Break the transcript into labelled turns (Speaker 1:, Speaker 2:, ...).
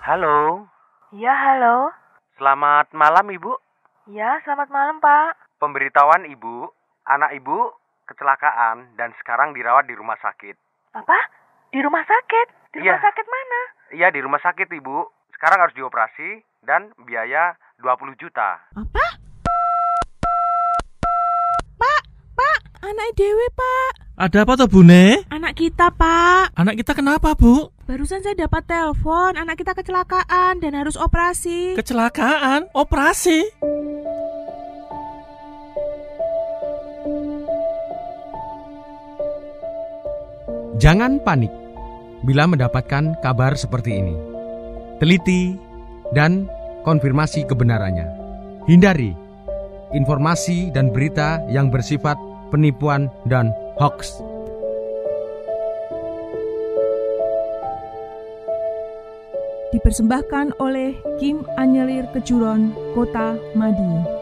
Speaker 1: Halo,
Speaker 2: Ya, halo.
Speaker 1: selamat malam Ibu.
Speaker 2: Ya, selamat malam, Pak.
Speaker 1: Pemberitahuan Ibu, anak Ibu kecelakaan dan sekarang dirawat di rumah sakit.
Speaker 2: Apa? Di rumah sakit? Di rumah
Speaker 1: Iya.
Speaker 2: sakit mana?
Speaker 1: Iya, di rumah sakit Ibu. Sekarang harus dioperasi dan biaya 20 juta.
Speaker 3: Apa? Pak, Pak, anak Dewi, Pak.
Speaker 4: Ada apa toh, Bu Ne?
Speaker 3: Anak kita, Pak.
Speaker 4: Anak kita kenapa, Bu?
Speaker 3: Barusan saya dapat telepon, anak kita kecelakaan dan harus operasi.
Speaker 4: Kecelakaan, operasi.
Speaker 5: Jangan panik bila mendapatkan kabar seperti ini. Teliti dan konfirmasi kebenarannya. Hindari informasi dan berita yang bersifat penipuan dan hoax.
Speaker 6: dipersembahkan oleh Kim Anyelir Kejuron, Kota Madiun.